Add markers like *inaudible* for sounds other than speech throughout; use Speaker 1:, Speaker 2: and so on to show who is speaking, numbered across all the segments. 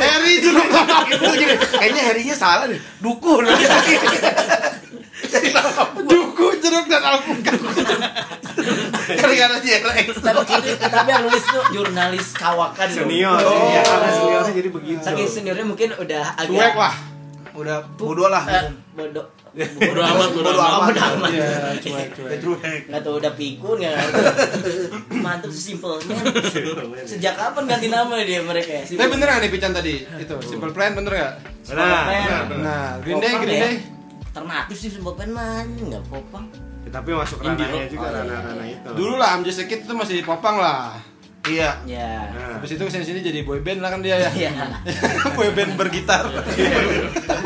Speaker 1: Harry juga gitu gini. Kayaknya Harrynya salah deh. Dukun. Jadi nama dukun jeruk dan alpukat. Gara-gara jelek.
Speaker 2: tapi, tapi yang nulis tuh jurnalis kawakan loh.
Speaker 3: senior
Speaker 1: Oh.
Speaker 3: ya karena seniornya jadi begitu
Speaker 2: saking seniornya mungkin udah agak
Speaker 1: Cuek lah.
Speaker 4: Udah
Speaker 2: Bu-
Speaker 4: bodo lah.
Speaker 2: eh, bodoh
Speaker 5: Bodo amat, bodo
Speaker 4: Bodo amat.
Speaker 2: amat. amat.
Speaker 4: Iya, cuek, cuek.
Speaker 1: Cuek.
Speaker 2: nggak tau udah pikun ya mantep sih simpelnya sejak kapan ganti nama dia mereka ya
Speaker 1: Tapi bener nggak nih Pican tadi? Itu Simple Plan bener nggak?
Speaker 3: nah,
Speaker 2: Benar.
Speaker 3: benar.
Speaker 1: Nah, Green Day,
Speaker 2: Popang
Speaker 1: Green
Speaker 2: ya.
Speaker 1: Day.
Speaker 2: alternatif sih simple plan mah nggak popang
Speaker 3: tapi masuk
Speaker 5: Indie
Speaker 3: ranahnya
Speaker 5: rock.
Speaker 3: juga
Speaker 2: Oh, iya.
Speaker 3: ranah-ranah itu
Speaker 1: Dulu lah Amjad Sekit itu masih popang lah.
Speaker 4: Iya.
Speaker 2: ya
Speaker 3: nah,
Speaker 1: Habis itu kesini sini jadi boy band lah kan dia ya.
Speaker 2: Iya.
Speaker 1: *laughs* boy band bergitar.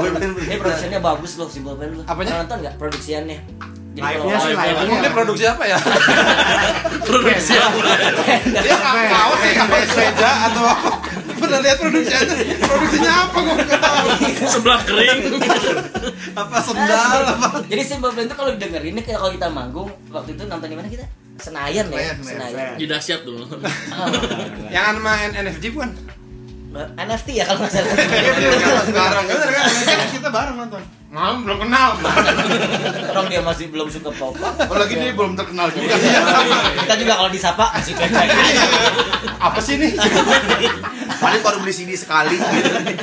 Speaker 4: Boy band
Speaker 2: Ini produksinya bagus loh Simple Plan loh.
Speaker 1: Apanya?
Speaker 2: Pernah nonton nggak produksiannya? Jadi
Speaker 3: live-nya sih
Speaker 5: live-nya.
Speaker 3: live-nya
Speaker 1: Emang dia produksi apa ya?
Speaker 5: produksi apa?
Speaker 1: Dia nggak kaos sih, kaos sepeda atau apa? Pernah lihat produksinya? Produksinya apa? Gue nggak tahu.
Speaker 5: sebelah kering
Speaker 1: Apa sendal apa?
Speaker 2: Jadi Simple Plan itu kalau didengerin nih kayak kalau kita manggung waktu itu nonton di mana kita? Senayan ya,
Speaker 4: Senayan,
Speaker 2: Senayan.
Speaker 5: di dahsyat dulu
Speaker 2: Ah.
Speaker 1: Yang sama N- NFG bukan?
Speaker 2: NFT ya kalau nggak
Speaker 4: *laughs*
Speaker 2: salah.
Speaker 1: Iya bener kan? Sekarang bener kan?
Speaker 4: Kan kita bareng nonton.
Speaker 1: Nah, belum kenal.
Speaker 2: Orang dia masih belum suka pop.
Speaker 4: iya.
Speaker 2: Iya,
Speaker 4: Apalagi Oh, dia belum terkenal
Speaker 1: Iya,
Speaker 4: juga.
Speaker 2: Kita juga kalau disapa masih
Speaker 4: *laughs*
Speaker 2: cuek-cuek.
Speaker 4: Iya.
Speaker 1: Apa sih nih?
Speaker 4: Paling baru beli CD sekali.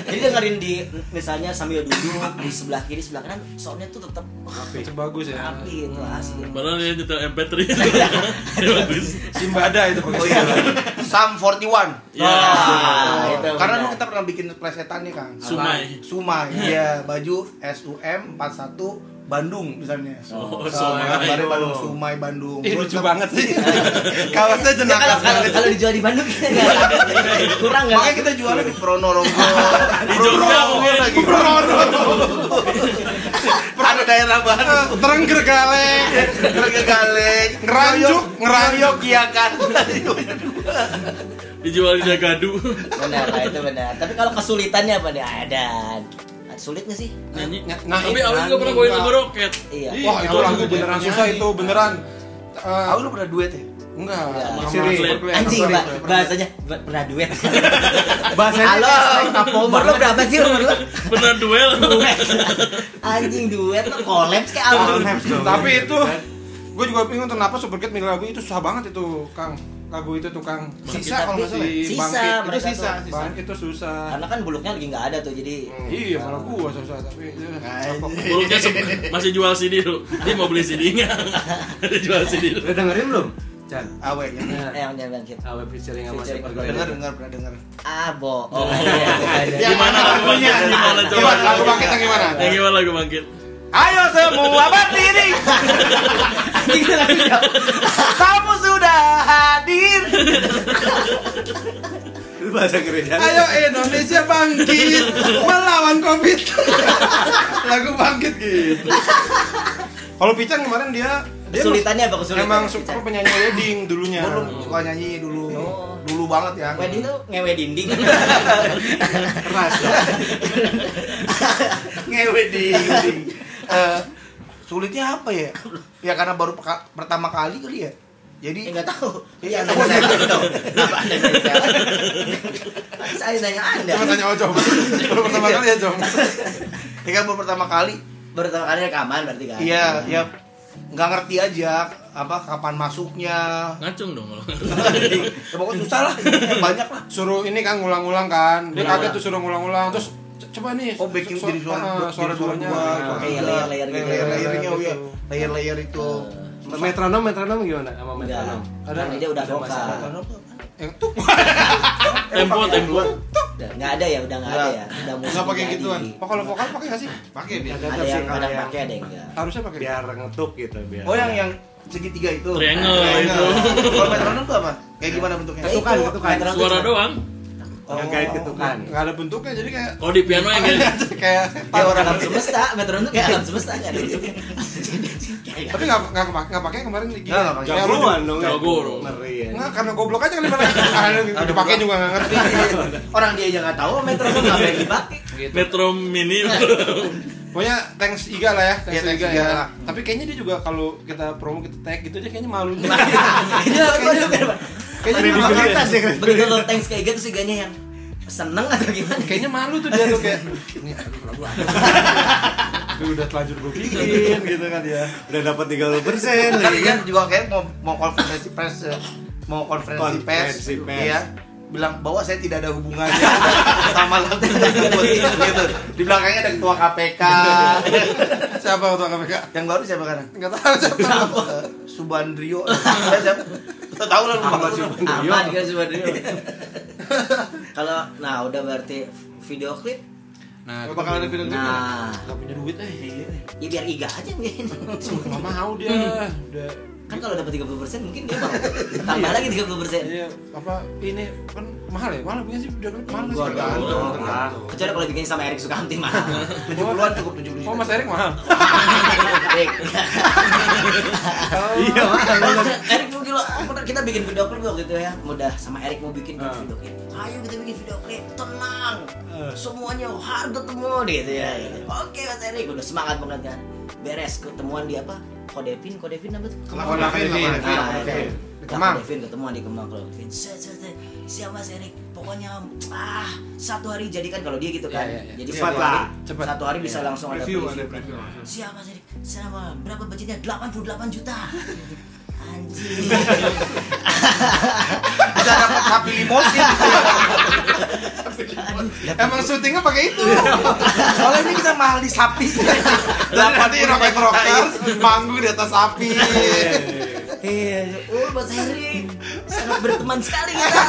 Speaker 2: Jadi dengerin di misalnya sambil duduk di sebelah kiri sebelah kanan soundnya tuh tetap wah,
Speaker 1: Itu bagus ya.
Speaker 2: rapi gitu, Ya, itu
Speaker 4: Hmm.
Speaker 2: asli.
Speaker 5: padahal dia nyetel MP3 *laughs* Dia Iya, bagus
Speaker 1: Simbada itu Ah, bagus.
Speaker 4: Oh iya. Sam 41.
Speaker 5: ya
Speaker 2: Wah, itu
Speaker 4: Karena
Speaker 2: benar.
Speaker 4: dulu kita pernah bikin plesetan nih Kang.
Speaker 5: Sumai.
Speaker 4: Apa? Sumai. Iya, baju SUM 41 Bandung misalnya.
Speaker 5: Oh, Sumai.
Speaker 1: kan
Speaker 4: Sumai. Baru Bandung Sumai Bandung.
Speaker 1: Ih,
Speaker 4: Terus
Speaker 1: lucu
Speaker 4: kita-
Speaker 1: banget sih. *laughs* Kaosnya
Speaker 2: Ya, kalau,
Speaker 1: jenaka
Speaker 2: kalau,
Speaker 1: banget.
Speaker 2: kalau dijual di Bandung *laughs* kita nggak ada. kurang nggak?
Speaker 4: Makanya kita jualnya di Prono Rogo.
Speaker 5: di Jogja mungkin
Speaker 4: Ada daerah baru.
Speaker 1: Eh, Terenggergalek.
Speaker 4: Harga galeng.
Speaker 1: Ngeranjuk, ngeranjuk.
Speaker 4: Ngeranjuk ya kan.
Speaker 5: dijual di Dagadu
Speaker 2: Benar lah itu benar. Tapi kalau kesulitannya apa nih? Ada. Sulit nggak sih?
Speaker 5: nyanyi
Speaker 1: Nah,
Speaker 5: tapi
Speaker 1: ini
Speaker 5: aku juga pernah bawain lagu roket
Speaker 2: Iya.
Speaker 5: Ih,
Speaker 1: *laughs* Wah, itu lagu
Speaker 5: juga
Speaker 1: beneran susah itu beneran. Eh,
Speaker 4: Aku lu pernah duet ya?
Speaker 1: enggak.
Speaker 2: Enggak.
Speaker 1: sama
Speaker 3: Masih relate.
Speaker 1: Super Plan.
Speaker 2: Anjing
Speaker 4: pernah,
Speaker 2: Mbak,
Speaker 4: pernah.
Speaker 2: bahasanya ba- pernah duet.
Speaker 4: Bahasanya
Speaker 2: Halo, umur lo berapa sih umur lo?
Speaker 5: bener duel
Speaker 2: Duet. Anjing duet lo collab kayak apa?
Speaker 1: Tapi itu gue juga bingung kenapa Superkid milih lagu itu susah banget itu, Kang. Lagu itu tuh Kang.
Speaker 2: Tapi-
Speaker 1: Sisa kalau nggak salah.
Speaker 2: Sisa,
Speaker 1: Bangkit.
Speaker 2: mereka
Speaker 1: itu sisa,
Speaker 2: tuh.
Speaker 1: sisa. Bangkit itu susah.
Speaker 2: Karena kan buluknya lagi nggak ada tuh jadi
Speaker 1: Iya, malah gua susah tapi itu kapok.
Speaker 5: Mulutnya se- masih jual CD lu. Dia mau beli CD-nya. Dia jual CD lu.
Speaker 3: udah dengerin belum Chan
Speaker 4: Awe ya.
Speaker 3: Hmm.
Speaker 2: eh, yang jangan bangkit.
Speaker 3: awet featuring sama
Speaker 2: Featuring.
Speaker 3: Super
Speaker 4: Dengar dengar pernah dengar.
Speaker 2: Ah bohong. *laughs*
Speaker 5: Oh.
Speaker 2: Iya,
Speaker 1: Yang
Speaker 5: Gimana
Speaker 1: mana
Speaker 5: lagu bangkit?
Speaker 1: lagunya?
Speaker 5: Gimana coba?
Speaker 1: Gimana lagu bangkit yang gimana?
Speaker 5: Yang gimana lagu bangkit?
Speaker 4: Ayo semua berdiri.
Speaker 2: Anjing itu lagu siapa?
Speaker 4: Kamu sudah hadir.
Speaker 3: Lu bahasa gereja
Speaker 1: Ayo Indonesia bangkit melawan Covid. lagu bangkit gitu. Kalau Pican kemarin dia dia
Speaker 2: Kesulitannya apa kesulitan?
Speaker 1: Emang suka penyanyi wedding dulunya.
Speaker 4: Gue dulu suka nyanyi dulu.
Speaker 2: Oh.
Speaker 4: Dulu banget ya.
Speaker 2: Wedding tuh ngewe dinding. Eh,
Speaker 4: keras.
Speaker 2: *laughs*
Speaker 4: Ngewe di. Eh, sulitnya apa ya? Ya karena baru peka- pertama kali kali ya. Jadi
Speaker 2: Enggak tahu.
Speaker 4: Iya,
Speaker 2: Iya,
Speaker 4: tahu.
Speaker 2: nanya saya tahu. Kenapa Anda nanya saya? Saya nanya Anda.
Speaker 1: Cuma tanya Ojong. Baru pertama kali ya Jong.
Speaker 4: ya Iya. kan baru pertama kali.
Speaker 2: Pertama kali rekaman berarti kan?
Speaker 4: Iya, ya nggak ngerti aja apa kapan masuknya.
Speaker 5: Ngacung dong lo.
Speaker 4: Ya, pokoknya susah
Speaker 1: *laughs*
Speaker 4: lah, banyak lah. Iya.
Speaker 1: Suruh ini kan ngulang-ulang kan. Dia
Speaker 5: Ngulang-ulang.
Speaker 1: kaget tuh suruh ngulang-ulang terus c- coba nih
Speaker 4: Oh, backing
Speaker 1: su- su-
Speaker 4: jadi suara
Speaker 1: ah,
Speaker 4: dua-
Speaker 1: suara
Speaker 4: jadi suara
Speaker 1: duanya.
Speaker 4: dua,
Speaker 1: gitu.
Speaker 4: suara
Speaker 2: Iya,
Speaker 4: tiga,
Speaker 2: layer-layer gitu.
Speaker 4: layer-layernya, oh iya.
Speaker 1: Gitu.
Speaker 4: layer-layer itu.
Speaker 3: metronom metronom gimana sama
Speaker 2: Enggak.
Speaker 3: metronom
Speaker 2: Karena dia udah
Speaker 3: Ada
Speaker 2: vokal.
Speaker 3: masalah.
Speaker 1: Yang Eh,
Speaker 4: *laughs*
Speaker 1: tuh
Speaker 5: *laughs* Tempo tempo.
Speaker 2: Udah, Nggak ada ya, udah nggak ada ya. Udah musik
Speaker 1: enggak pakai
Speaker 2: jadi.
Speaker 1: gituan. Oh, kalau vokal pakai enggak sih?
Speaker 4: Pakai dia.
Speaker 2: Ada
Speaker 3: tetap sih
Speaker 2: yang gitu.
Speaker 3: kalau
Speaker 2: kadang
Speaker 3: yang-
Speaker 2: pakai ada yang enggak.
Speaker 1: Harusnya pakai.
Speaker 3: biar ngetuk gitu biar
Speaker 4: Oh yang yang segitiga itu.
Speaker 5: Triangle itu.
Speaker 4: Kalau metronom tuh apa? Kayak gimana bentuknya?
Speaker 2: Kayak
Speaker 3: Ketukan,
Speaker 2: itu,
Speaker 3: ketukan.
Speaker 2: metronom tuh kan.
Speaker 5: Suara
Speaker 2: cuma-
Speaker 5: doang.
Speaker 3: yang kayak ketukan
Speaker 1: Enggak ada bentuknya jadi kayak *laughs*
Speaker 5: Kalau di piano yang gini.
Speaker 1: kayak
Speaker 4: Iya.
Speaker 2: Kayak orang alam semesta, metronom tuh kayak alam semesta kan. nggak ada. *laughs* Kayak-
Speaker 1: tapi nggak nggak kepake nggak pakai kemarin di
Speaker 4: Nggak, nggak pakai.
Speaker 1: Ya, lu-
Speaker 3: jagoan dong ya.
Speaker 5: Jago.
Speaker 3: meri ya
Speaker 1: nggak karena goblok aja kali
Speaker 4: *laughs*
Speaker 1: mana ah, dipakai juga nggak ngerti
Speaker 2: Orang dia aja nggak tahu, metronom ngapain dipakai?
Speaker 5: Metro Mini.
Speaker 1: pokoknya thanks Iga lah ya thanks,
Speaker 4: Iya, thanks
Speaker 1: Iga,
Speaker 4: Iga.
Speaker 1: ya tapi kayaknya dia juga kalau kita promo kita tag gitu aja kayaknya
Speaker 4: *laughs*
Speaker 1: malu
Speaker 2: Iya, bener, bener.
Speaker 1: kayaknya dia malu
Speaker 3: Kredibilitas ya
Speaker 2: Begitu lo thanks kayak gitu sih ganya yang seneng atau gimana?
Speaker 1: Kayaknya malu tuh dia tuh kayak
Speaker 6: Ini aduh lagu
Speaker 4: *laughs*
Speaker 6: apa?
Speaker 1: "Aduh, udah telanjur gue bikin gitu kan ya. Udah dapat 30 persen
Speaker 7: iya.
Speaker 6: Kalian Kan juga kayak mau mau konferensi pers ya. mau konferensi pers,
Speaker 1: Konferensi pers.
Speaker 6: ya bilang bahwa saya tidak ada hubungannya sama lagu tersebut gitu. Di belakangnya ada ketua KPK.
Speaker 7: *laughs* Siapa ketua KPK?
Speaker 6: Yang baru siapa kan?
Speaker 7: Enggak tahu siapa.
Speaker 6: Subandrio. Ya, siapa? Tahu lah lu Bang.
Speaker 2: Aman kan sebenarnya. *laughs* Kalau nah udah berarti video klip.
Speaker 7: Nah, bakal
Speaker 5: gitu.
Speaker 7: ada video klipnya.
Speaker 2: Nah,
Speaker 1: Gak punya duit eh.
Speaker 2: ya biar iga aja mungkin.
Speaker 1: Gak mau dia.
Speaker 7: Hmm.
Speaker 1: Udah
Speaker 2: kan kalau dapat 30% mungkin dia mau tambah lagi 30%.
Speaker 1: Iya, apa ini kan mahal ya? Mahal punya sih udah mahal
Speaker 6: Gua
Speaker 1: sih.
Speaker 6: tahu.
Speaker 2: Kecuali kalau bikin sama Erik Sukamti mah.
Speaker 6: 70-an cukup 70
Speaker 1: Oh Mas Erik mahal.
Speaker 2: Erik.
Speaker 1: Iya mahal.
Speaker 2: Erik mau gila, aku udah- kita bikin video klip waktu itu ya. Mudah sama Erik mau bikin
Speaker 1: Ah.
Speaker 2: video klip. Ayo kita bikin video klip, tenang. Semuanya harga temu gitu ya.
Speaker 1: Iya,
Speaker 2: Oke Mas Erik udah semangat banget kan. Beres ketemuan di apa? Kodepin, Kodepin apa tuh?
Speaker 7: Kemang Kevin, Kemang Kevin.
Speaker 2: Nah,
Speaker 7: Oke.
Speaker 2: itu.
Speaker 7: Di
Speaker 2: Nah,
Speaker 7: Kemang.
Speaker 2: Kak Devin ketemuan di Kemang kalau Devin. Set, set, set. Siap Mas Erik. Pokoknya ah satu hari jadikan kalau dia gitu kan.
Speaker 1: Iya, iya, iya.
Speaker 2: Jadi
Speaker 1: Cepat
Speaker 2: satu
Speaker 1: lah,
Speaker 2: hari,
Speaker 1: cepat. Iya.
Speaker 2: Satu hari bisa langsung ada
Speaker 7: Review,
Speaker 2: preview.
Speaker 7: ada preview.
Speaker 2: Siap Mas Erik. Siapa? Berapa budgetnya? 88 juta. Anjing.
Speaker 6: Bisa dapat sapi limosin.
Speaker 2: Aduh. Iya.
Speaker 7: Emang syutingnya pakai itu.
Speaker 6: Soalnya ini kita mahal di sapi.
Speaker 7: Dan nanti roket rockers manggung di atas api.
Speaker 2: Iya. Oh, Mas Erik. Sangat berteman sekali kita.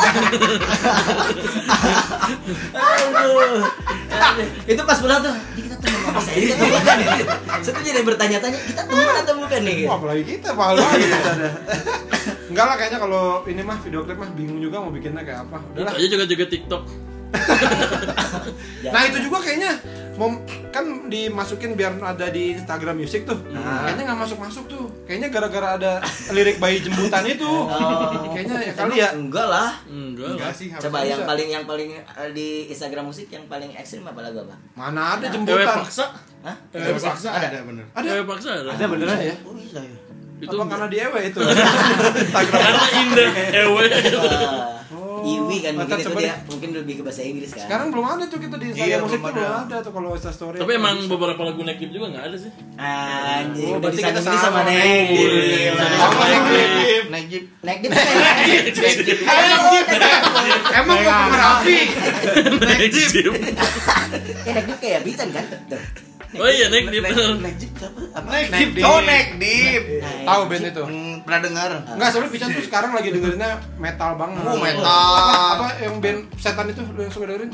Speaker 2: Aduh. Aduh. Itu pas pulang tuh, "Ini kita teman sama Mas Erik atau bukan ya? Saya tuh jadi bertanya-tanya, kita teman atau bukan nih?
Speaker 1: Wah, apalagi kita mahal banget
Speaker 2: Iya.
Speaker 1: kita dah. Enggak lah kayaknya kalau ini mah video klip mah bingung juga mau bikinnya kayak apa.
Speaker 5: Itu
Speaker 1: Udahlah.
Speaker 5: aja juga-juga TikTok.
Speaker 2: Ya.
Speaker 1: Nah itu juga kayaknya mau kan dimasukin biar ada di Instagram Music tuh.
Speaker 2: Iya.
Speaker 1: Kayaknya nggak masuk masuk tuh. Kayaknya gara-gara ada lirik bayi jembutan itu.
Speaker 2: Oh.
Speaker 1: Kayaknya ya kali ya.
Speaker 2: Enggak lah.
Speaker 5: Enggak.
Speaker 7: Enggak
Speaker 5: lah.
Speaker 7: sih, harus
Speaker 2: Coba
Speaker 1: bisa.
Speaker 2: yang paling yang paling eh, di Instagram musik yang paling ekstrim apa lagu apa?
Speaker 1: Mana ada
Speaker 5: Cewek
Speaker 1: jembutan?
Speaker 5: paksa.
Speaker 2: Hah?
Speaker 7: Ada paksa ada bener.
Speaker 1: Ada.
Speaker 5: Cewek paksa ada.
Speaker 1: Ada beneran ya?
Speaker 6: Oh iya ya.
Speaker 5: Itu
Speaker 1: Apa karena di ewe
Speaker 5: *laughs*
Speaker 1: itu?
Speaker 5: karena indah ewe.
Speaker 2: Eh,
Speaker 1: Oh,
Speaker 2: Iwi kan mungkin
Speaker 1: mantap,
Speaker 2: itu
Speaker 1: coba
Speaker 2: dia
Speaker 1: deh.
Speaker 2: mungkin lebih ke bahasa Inggris kan.
Speaker 1: Sekarang belum ada tuh kita di Instagram
Speaker 6: Iya,
Speaker 1: Music
Speaker 6: belum
Speaker 1: tuh belum
Speaker 6: ada.
Speaker 1: ada tuh kalau Insta Story.
Speaker 5: Tapi emang beberapa lagu naik klip juga enggak ada sih.
Speaker 2: anjing
Speaker 1: Oh,
Speaker 2: udah
Speaker 1: berarti
Speaker 2: disandung
Speaker 1: kita
Speaker 2: ini sama
Speaker 1: sama.
Speaker 2: Nek.
Speaker 5: Gila.
Speaker 2: Sama Nek.
Speaker 6: Naik jeep.
Speaker 2: Nek di Nek.
Speaker 7: Emang mau rapi?
Speaker 5: *laughs* Naik jeep.
Speaker 2: Eh, Nek di kayak Bitan kan? Tuh.
Speaker 5: Oh iya naik jeep.
Speaker 6: Naik jeep siapa? Apa?
Speaker 7: Naik
Speaker 6: Naik
Speaker 7: jeep.
Speaker 6: jeep. Oh naik jeep.
Speaker 2: Naik.
Speaker 1: Tahu band itu?
Speaker 6: Hmm, Pernah dengar?
Speaker 1: Enggak, soalnya Pican tuh sekarang lagi dengerinnya metal banget.
Speaker 6: Oh, metal.
Speaker 1: Apa, apa yang band setan itu lu yang suka dengerin?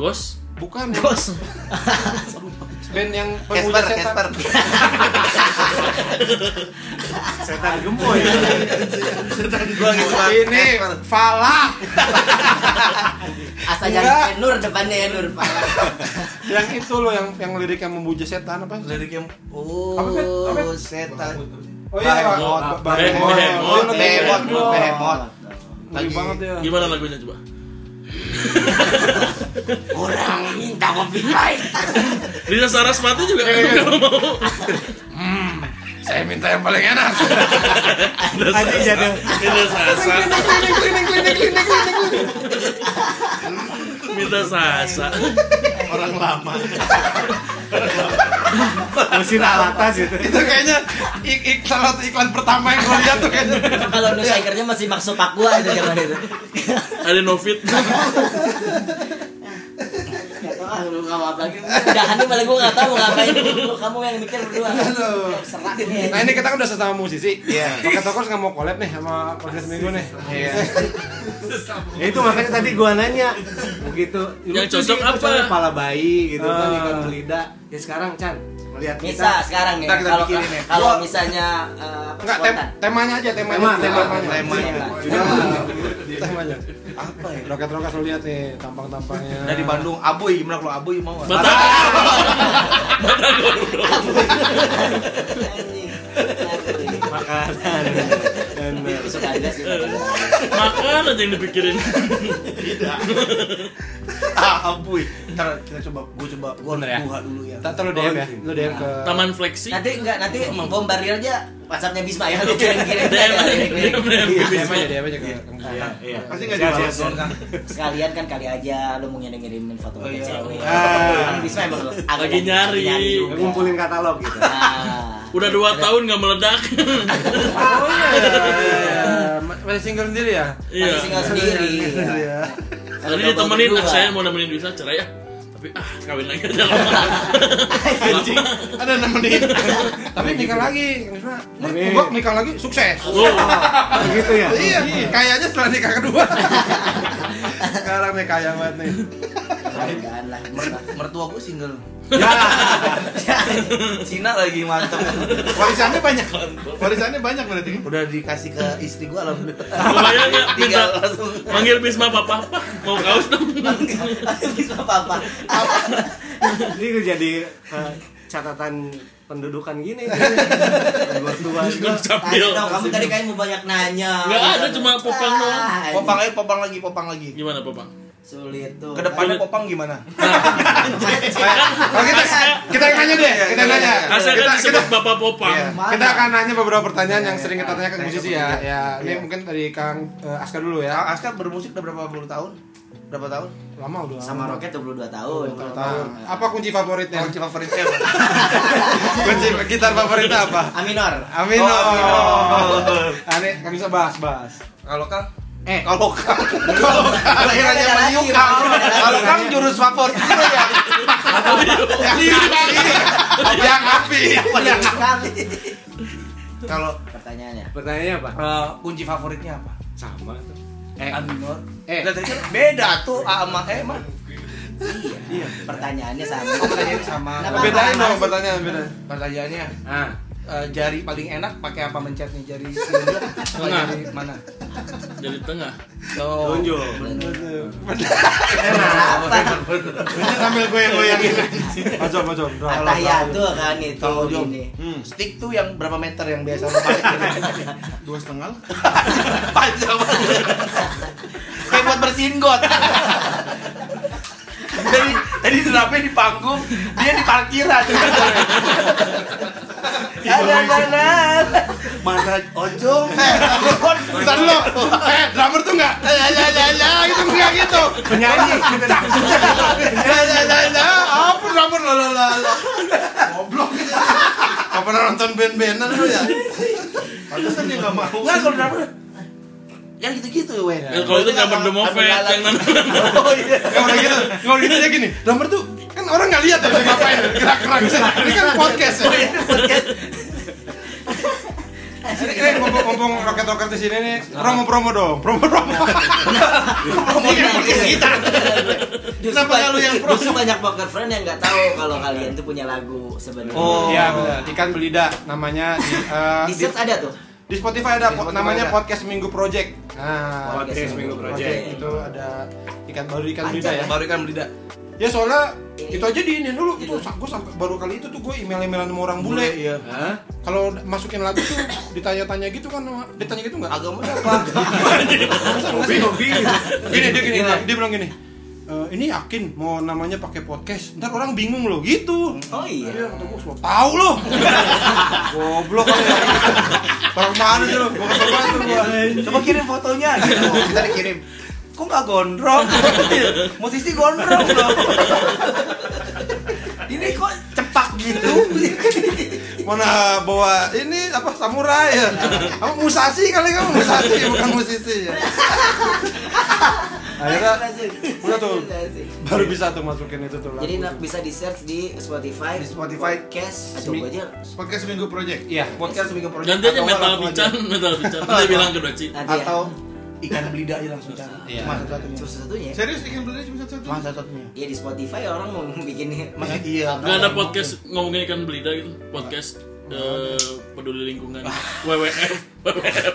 Speaker 5: Ghost.
Speaker 1: Bukan.
Speaker 2: Bos.
Speaker 1: Band yang pemuja
Speaker 6: Casper,
Speaker 1: setan.
Speaker 6: Casper.
Speaker 1: Setan gemboy.
Speaker 6: Gua gitu kan.
Speaker 1: Ini
Speaker 6: Casper.
Speaker 1: Fala
Speaker 2: Asal jangan Nur depannya ya Nur. Pak.
Speaker 1: yang itu loh yang yang lirik yang memuja setan apa?
Speaker 6: Lirik yang
Speaker 1: Apa, Ben? Apa, Ben?
Speaker 6: oh setan.
Speaker 1: Oh iya,
Speaker 6: Behemoth.
Speaker 1: Pak. Behemoth.
Speaker 5: Behemoth.
Speaker 6: Behemoth,
Speaker 1: Behemoth.
Speaker 6: Behemoth.
Speaker 1: Ngeri
Speaker 6: Lagi-
Speaker 1: banget ya.
Speaker 5: Gimana lagunya coba?
Speaker 6: Orang minta kopi pahit.
Speaker 5: Lisa Saraswati juga *laughs* nggak mau.
Speaker 7: Hmm, Saya minta yang paling enak.
Speaker 5: Nanti jadi Minta sasa. Minta sasa.
Speaker 7: Orang lama.
Speaker 1: Mesin alatas gitu.
Speaker 7: Itu kayaknya ik ik salah satu iklan pertama yang gue lihat tuh kayaknya.
Speaker 2: Kalau nusikernya masih maksud Papua itu zaman itu.
Speaker 5: Ada Novit.
Speaker 2: Gak tau ah, lu gak mau apa lagi Dahannya malah gue gak tau mau ngapain Lu kamu yang mikir berdua Serak nih
Speaker 1: Nah ini kita kan udah sesama musisi.
Speaker 6: Iya.
Speaker 1: Pakai tokos nggak mau collab nih sama podcast minggu nih.
Speaker 6: Iya.
Speaker 3: Ya itu makanya tadi gua nanya begitu. lu
Speaker 5: Yang
Speaker 3: tuh
Speaker 5: cocok
Speaker 3: sih,
Speaker 5: apa?
Speaker 3: misalnya Kepala bayi gitu kan
Speaker 1: Ah.
Speaker 3: ikan belida. Ya sekarang Chan melihat kita
Speaker 2: Misa sekarang nih
Speaker 6: Ntar kita
Speaker 2: kalau
Speaker 6: pikirin ya.
Speaker 2: kalau misalnya eh, apa,
Speaker 1: Enggak, tem
Speaker 2: spontan.
Speaker 1: temanya aja, temanya.
Speaker 3: Tema, tema,
Speaker 6: tema.
Speaker 1: Temanya.
Speaker 6: Apa ya?
Speaker 1: Roket-roket lu lihat nih tampang-tampangnya.
Speaker 6: Dari Nah, Bandung, Aboy gimana kalau Aboy mau? nggak?
Speaker 5: Batak. Batak Gordo.
Speaker 2: Anjing. Anjing.
Speaker 3: makanan. Bener.
Speaker 2: Suka ada sih
Speaker 5: Makan aja yang dipikirin.
Speaker 6: Ah, Aboy. Ntar kita coba, gua coba, gua harus
Speaker 1: Bener ya?
Speaker 6: buka dulu ya.
Speaker 1: Tak terlalu DM ya. Lu DM ke
Speaker 5: Taman Fleksi.
Speaker 2: Nanti enggak nanti bombardir aja WhatsAppnya Bisma ya lu kirim kirim
Speaker 5: DM
Speaker 2: Iya,
Speaker 5: DM DM
Speaker 1: Dia aja, dia aja ke
Speaker 3: Iya, iya.
Speaker 6: Pasti nggak
Speaker 3: Siap,
Speaker 6: dibalas
Speaker 3: siap,
Speaker 6: dong, Kang.
Speaker 2: sekalian kan kali aja lu mau ngirim ngirimin foto
Speaker 6: Oh,
Speaker 2: oh,
Speaker 6: iya.
Speaker 2: cewek
Speaker 1: Ah.
Speaker 2: kan Bisma emang lu agak
Speaker 5: Lagi nyari.
Speaker 3: siap.
Speaker 2: juga.
Speaker 3: Ngumpulin katalog
Speaker 6: *laughs*
Speaker 3: gitu.
Speaker 2: Nah.
Speaker 5: Udah dua tahun nggak meledak.
Speaker 1: Oh iya. Masih single sendiri ya? Iya.
Speaker 2: Iya.
Speaker 5: *laughs* Iya.
Speaker 2: Tinggal sendiri. Kalau
Speaker 5: Tadi
Speaker 2: udah
Speaker 5: ditemenin
Speaker 2: bawa
Speaker 5: ah, saya
Speaker 2: berdua.
Speaker 5: mau nemenin Duisa cerai ya. Tapi ah kawin lagi *laughs* aja lama.
Speaker 6: Anjing, ada nemenin.
Speaker 1: Tapi nikah lagi, Kang Bisma.
Speaker 3: Amin.
Speaker 1: Nih, gua nikah lagi sukses.
Speaker 5: Wow.
Speaker 3: Oh, gitu ya.
Speaker 1: Iya, kayaknya setelah nikah kedua. Sekarang nih kaya banget nih.
Speaker 2: Mudah-mudahan lah Bisma.
Speaker 6: Mertua gue single.
Speaker 2: Ya.
Speaker 6: Cina lagi mantep. Warisannya banyak. Warisannya banyak berarti. Udah dikasih ke istri gue alhamdulillah.
Speaker 5: Kebayang nggak minta
Speaker 6: Tinggal langsung.
Speaker 5: manggil Bisma papa Pak, mau kaos dong.
Speaker 2: *laughs* Bisma apa-apa
Speaker 3: Ini gue jadi eh, catatan pendudukan gini.
Speaker 6: Iya.
Speaker 3: Mertua.
Speaker 5: Gue
Speaker 2: Tadi
Speaker 5: capil.
Speaker 2: dong kamu tadi kayaknya mau banyak nanya gitu
Speaker 5: Nggak ada, cuma popang doang.
Speaker 2: Ah, ini
Speaker 6: Popang lagi, popang lagi, popang lagi.
Speaker 5: Gimana Popang?
Speaker 2: Sulit tuh *laughs*
Speaker 6: Kedepannya popang gimana?
Speaker 1: Nah, kita kita yang nanya deh, kita yang nanya.
Speaker 5: Asal
Speaker 1: Kita
Speaker 5: kan disebut Bapak Popang.
Speaker 1: Iya.
Speaker 2: Mana?
Speaker 1: Kita akan nanya beberapa pertanyaan yang sering kita tanya ke
Speaker 6: Iya, Tanya
Speaker 1: musisi ya.
Speaker 6: ke musisi.
Speaker 1: Ya, ini
Speaker 6: Iya.
Speaker 1: mungkin dari Kang eh, Aska dulu
Speaker 6: Kang
Speaker 1: ya.
Speaker 6: Aska bermusik udah berapa puluh tahun? Berapa tahun?
Speaker 1: Lama udah.
Speaker 6: Oh.
Speaker 2: sama
Speaker 1: lama.
Speaker 2: Roket 22 tahun.
Speaker 1: Tahun. Apa kunci favoritnya?
Speaker 6: Kunci favoritnya apa?
Speaker 1: *laughs* kunci gitar favoritnya apa?
Speaker 2: Aminor.
Speaker 1: Amin.
Speaker 6: Oh, Amino.
Speaker 1: Ini kami bisa bahas-bahas.
Speaker 6: Kalau Kang
Speaker 1: Eh.
Speaker 6: kalau Kang, kalau Kang, lahirannya
Speaker 2: Ada lagi,
Speaker 6: meniup
Speaker 2: Bang. Ada
Speaker 6: Kang.
Speaker 2: lagi.
Speaker 6: Kalau Kang jurus favorit itu ya. Yang api.
Speaker 2: Iya, kali.
Speaker 6: Kalau
Speaker 2: Pertanyaannya.
Speaker 3: Pertanyaannya apa?
Speaker 6: eh, kunci favoritnya apa?
Speaker 3: Sama tuh.
Speaker 6: A minor.
Speaker 1: Eh.
Speaker 6: Lah, tadi kan beda tuh A sama E mah.
Speaker 2: Iya. Pertanyaannya sama.
Speaker 6: Pertanyaannya sama.
Speaker 2: Kenapa? Apa-apa,
Speaker 1: Bedain dong
Speaker 2: apa-apa.
Speaker 1: pertanyaan beda.
Speaker 6: Pertanyaannya
Speaker 3: Ah,
Speaker 6: eh, jari paling enak pakai apa mencetnya jari telunjuk atau
Speaker 5: Tengah.
Speaker 6: jari mana?
Speaker 5: Dari tengah.
Speaker 6: So,
Speaker 3: tunjuk.
Speaker 1: Ini sambil gue yang goyangin. Majom, majom.
Speaker 2: Patah ya tuh kan itu
Speaker 6: Kalau jom.
Speaker 2: ini.
Speaker 7: Hmm.
Speaker 6: stick tuh yang berapa meter yang biasa
Speaker 2: *laughs*
Speaker 6: lu pakai? Iya,
Speaker 7: dua setengah lah.
Speaker 6: Panjang banget. Kayak buat bersihin got. Jadi tadi terapnya di panggung, dia di parkiran. Ada ada. Mana ojol?
Speaker 7: Bentar dulu. Eh, drummer tuh enggak. Eh, ya ya ya gitu enggak gitu. *laughs*
Speaker 3: Penyanyi.
Speaker 7: Ya ya ya ya. Apa drummer lo lo lo. lo. Goblok. Apa pernah nonton band-bandan lu ya? Pantesan dia enggak mau.
Speaker 6: Enggak kalau drummer. Yang gitu-gitu, weh.
Speaker 5: Ya, kalau itu drummer The Moffat, yang
Speaker 6: mana? Oh iya.
Speaker 1: Kalau udah gitu, kalau gitu dia gini. Drummer tuh kan orang nggak lihat ya dia ngapain, gerak-gerak. Ini kan podcast ya. Ini ngomong-ngomong roket-roket di sini nih, orang mau promo dong, promo-promo. Iya,
Speaker 6: Promo podcast kita.
Speaker 2: Kenapa lu yang pro? Justru banyak poker friend yang nggak tahu kalau kalian tuh punya lagu sebenarnya.
Speaker 6: Oh.
Speaker 1: Iya benar, ikan belida namanya di, eh,
Speaker 2: Di
Speaker 1: di,
Speaker 2: search ada tuh.
Speaker 1: di Spotify ada
Speaker 6: Di
Speaker 1: po-
Speaker 6: Spotify
Speaker 1: namanya
Speaker 6: ada.
Speaker 1: podcast Minggu Project. Nah,
Speaker 3: Podcast Minggu Project.
Speaker 1: Project itu ada ikan baru ikan
Speaker 2: Panjang
Speaker 1: belida ya.
Speaker 6: Baru ikan belida.
Speaker 1: Ya soalnya itu aja diinin dulu. Itu gue sampai baru kali itu tuh gue email-emailan sama orang bule.
Speaker 6: Iya.
Speaker 3: Hah?
Speaker 1: Kalau masukin lagu tuh ditanya-tanya gitu kan, ditanya gitu nggak? *laughs*
Speaker 6: Agama apa?
Speaker 3: Hobi, hobi.
Speaker 6: Iya.
Speaker 1: gini dia gini dia bilang gini "Eh, ini yakin mau namanya pakai podcast ntar orang bingung loh gitu
Speaker 2: Oh iya.
Speaker 1: Iya, kata gue, "Semua tahu loh. *laughs* Goblok kali ya. Orang mana sih lo? Gua kesel banget tuh gua.
Speaker 6: Coba kirim fotonya gitu.
Speaker 3: Iya.
Speaker 6: Kita dikirim. Kok nggak gondrong? Musisi gondrong loh. Ini kok cepak gitu?
Speaker 1: Mana bawa ini apa samurai ya? Apa musasi kali kamu musasi bukan musisi ya. *laughs* Akhirnya udah tuh *laughs* baru bisa tuh masukin itu tuh lagu.
Speaker 2: Jadi na-
Speaker 1: tuh.
Speaker 2: bisa di search di Spotify,
Speaker 6: Di Spotify.
Speaker 2: podcast atau
Speaker 1: Semi-
Speaker 2: gue aja
Speaker 7: Podcast Minggu Project.
Speaker 1: Iya.
Speaker 6: Podcast minggu project
Speaker 5: Ganti aja
Speaker 6: atau
Speaker 5: metal
Speaker 6: langsung aja.
Speaker 5: pican, metal pican. Dia bilang ke Doci.
Speaker 2: nanti ya.
Speaker 6: Atau ikan belida aja langsung cari. Cuma satu-satunya.
Speaker 2: Terus satunya.
Speaker 7: Serius ikan belida cuma satu.
Speaker 6: Cuma satu-satunya.
Speaker 2: Ya di Spotify orang mau *laughs* bikin
Speaker 6: Masih iya.
Speaker 5: Gak ada podcast ngomongin ikan belida gitu. Podcast eh, peduli lingkungan. WWF. WWF.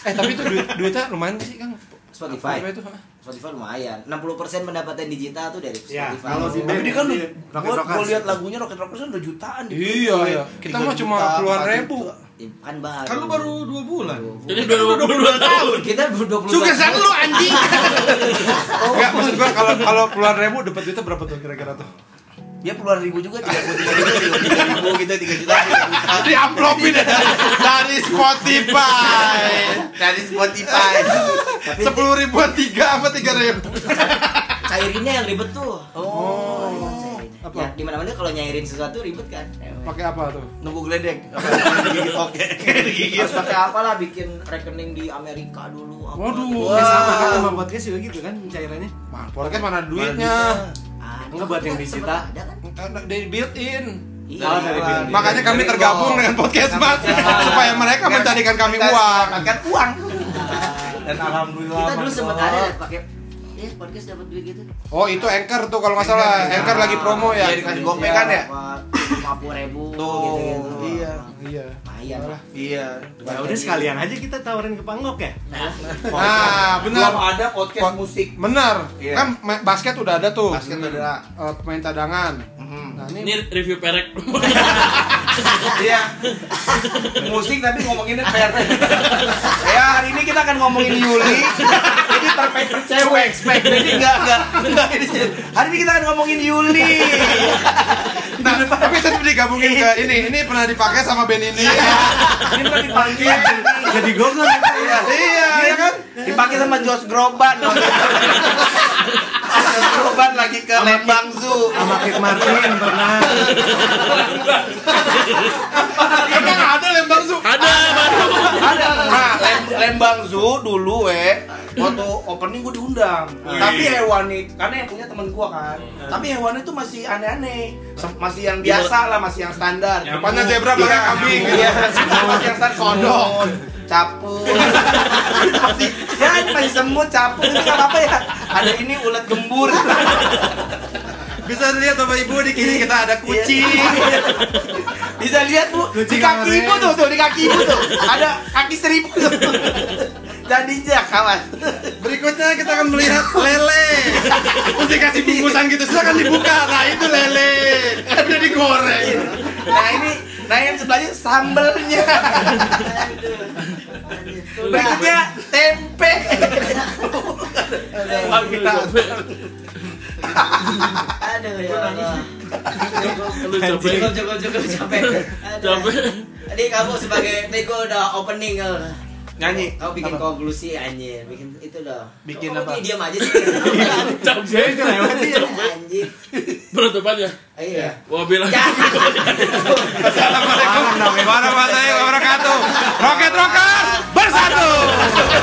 Speaker 1: Eh tapi itu duit duitnya lumayan sih Kang.
Speaker 2: Spotify.
Speaker 1: itu? ha?
Speaker 2: Spotify lumayan. 60% pendapatan digital tuh dari
Speaker 3: Ya,
Speaker 2: Spotify.
Speaker 3: kalau di
Speaker 6: Tapi dia kan
Speaker 3: Iya. Rocket
Speaker 6: gua, gua
Speaker 3: Rockers.
Speaker 6: lihat lagunya Rocket Rockers kan udah jutaan di
Speaker 1: Iya,
Speaker 6: Spotify.
Speaker 1: iya. Kita
Speaker 6: Tiga
Speaker 1: mah cuma
Speaker 6: juta,
Speaker 1: puluhan
Speaker 6: empat
Speaker 1: ribu.
Speaker 6: juta.
Speaker 2: Ya, kan baru.
Speaker 7: Kan lu baru dua bulan.
Speaker 5: Jadi udah 22 tahun.
Speaker 2: kita 20
Speaker 7: Suksesan lu anjing.
Speaker 1: Enggak, maksud gua kalau kalau puluhan ribu dapat duitnya berapa tuh kira-kira tuh?
Speaker 6: dia puluhan ribu juga tiga puluh tiga ribu tiga puluh tiga ribu kita tiga juta
Speaker 1: Di amplopin ya dari Spotify.
Speaker 6: dari Spotify tapi
Speaker 1: Sepuluh ribuan tiga apa tiga ribu?
Speaker 2: Cairinnya yang ribet tuh. Oh. cairinnya.
Speaker 8: Apa?
Speaker 2: Ya, di mana-mana kalau nyairin sesuatu ribet kan. Emang.
Speaker 8: pakai apa tuh
Speaker 6: nunggu
Speaker 2: *laughs*
Speaker 6: geledek digigit oke digigit
Speaker 2: Harus pakai apalah bikin rekening di Amerika dulu. apa. gitu.
Speaker 8: Waduh.
Speaker 3: Ya sama kan sama podcast juga gitu kan cairannya.
Speaker 8: Mah, podcast mana duitnya?
Speaker 2: Ah,
Speaker 3: Enggak buat yang
Speaker 2: kan
Speaker 3: disita.
Speaker 2: sempet Ada kan?
Speaker 8: Karena Dari built in.
Speaker 2: Iya.
Speaker 3: Salah dari
Speaker 2: Bang.
Speaker 3: Bang.
Speaker 1: Makanya kami tergabung dengan podcast Mas supaya mereka mencarikan kami uang.
Speaker 6: kan uang dan alhamdulillah
Speaker 2: Kita dulu
Speaker 6: Mas
Speaker 2: sempat
Speaker 6: Allah.
Speaker 2: ada pakai ya podcast dapat duit gitu.
Speaker 1: Oh itu anchor tuh kalau nggak salah anchor lagi promo ya.
Speaker 6: Iya, dikasih gopay kan ya
Speaker 2: Lima puluh ribu
Speaker 6: Tuh,
Speaker 2: gitu-gitu.
Speaker 6: iya.
Speaker 1: Iya.
Speaker 2: Lumayan lah.
Speaker 6: iya
Speaker 3: Ya udah sekalian aja kita tawarin ke Panggok ya.
Speaker 2: Nah,
Speaker 1: Nah benar
Speaker 6: belum ada podcast
Speaker 1: Pod-
Speaker 6: musik
Speaker 1: benar
Speaker 6: Iya.
Speaker 1: kan ma- basket udah ada tuh.
Speaker 6: basket ada Mm-hmm.
Speaker 1: Eh, pemain cadangan. Nah
Speaker 5: Ini
Speaker 1: ini
Speaker 5: review perek.
Speaker 6: Iya. Musik tapi ngomonginnya fair. ya hari ini kita akan ngomongin Yuli. Jadi perfect
Speaker 2: Nah,
Speaker 6: per cewek, spek. Jadi enggak enggak enggak ini. Hari ini kita akan ngomongin Yuli.
Speaker 1: *laughs* nah, tapi tetap digabungin ke ini ini pernah dipakai sama band ini.
Speaker 6: Iya. Ini pernah dipanggil.
Speaker 3: Jadi kan gogo
Speaker 6: Iya,
Speaker 1: *laughs* Iya, ya kan?
Speaker 6: Dipakai sama Jos Groban. Jos Groban lagi ke Lembang Zoo.
Speaker 3: sama Kit Martin pernah.
Speaker 6: kan?
Speaker 1: Emang Iya. ada lembang su.
Speaker 5: Ada baru.
Speaker 6: ada nah Lem- Lembang Zoo dulu we waktu opening gue diundang tapi hewannya karena yang punya temen gue kan tapi hewannya tuh masih aneh-aneh Sem- masih yang biasa lah masih yang standar
Speaker 1: Depannya zebra belakang kambing.
Speaker 6: Iya, masih yang standar kodok capung masih ya ini masih semut capung ini nggak apa-apa ya ada ini ulat gembur
Speaker 1: Bisa lihat Bapak Ibu di kiri kita ada kucing.
Speaker 6: Iya. bisa lihat bu di kaki ibu tuh tuh di kaki ibu tuh ada kaki seribu tuh dan dijak kawan
Speaker 1: Berikutnya kita akan melihat lele. Mesti kasih bungkusan gitu, silakan dibuka. Nah itu lele. Udah digoreng.
Speaker 6: Nah ini, nah yang sebelahnya sambelnya. Berikutnya tempe.
Speaker 2: *laughs* aduh ya Allah. *laughs*
Speaker 5: Lu capek.
Speaker 2: Cukup cukup cukup capek. Aduh.
Speaker 5: Capek.
Speaker 2: Tadi kamu sebagai tadi gua udah opening Gel.
Speaker 6: Nyanyi.
Speaker 2: Kau bikin konklusi anjir, bikin itu dong.
Speaker 6: Bikin
Speaker 2: Kok
Speaker 6: apa? Iya.
Speaker 2: kamu Diam aja
Speaker 6: *laughs*
Speaker 2: sih. Apaan?
Speaker 3: Jadi itu lewat ya.
Speaker 2: Anjir.
Speaker 5: Penutupannya.
Speaker 2: Iya.
Speaker 5: Wabil.
Speaker 3: Ya,
Speaker 2: Jangan.
Speaker 1: Assalamualaikum warahmatullahi wabarakatuh. Roket roket bersatu.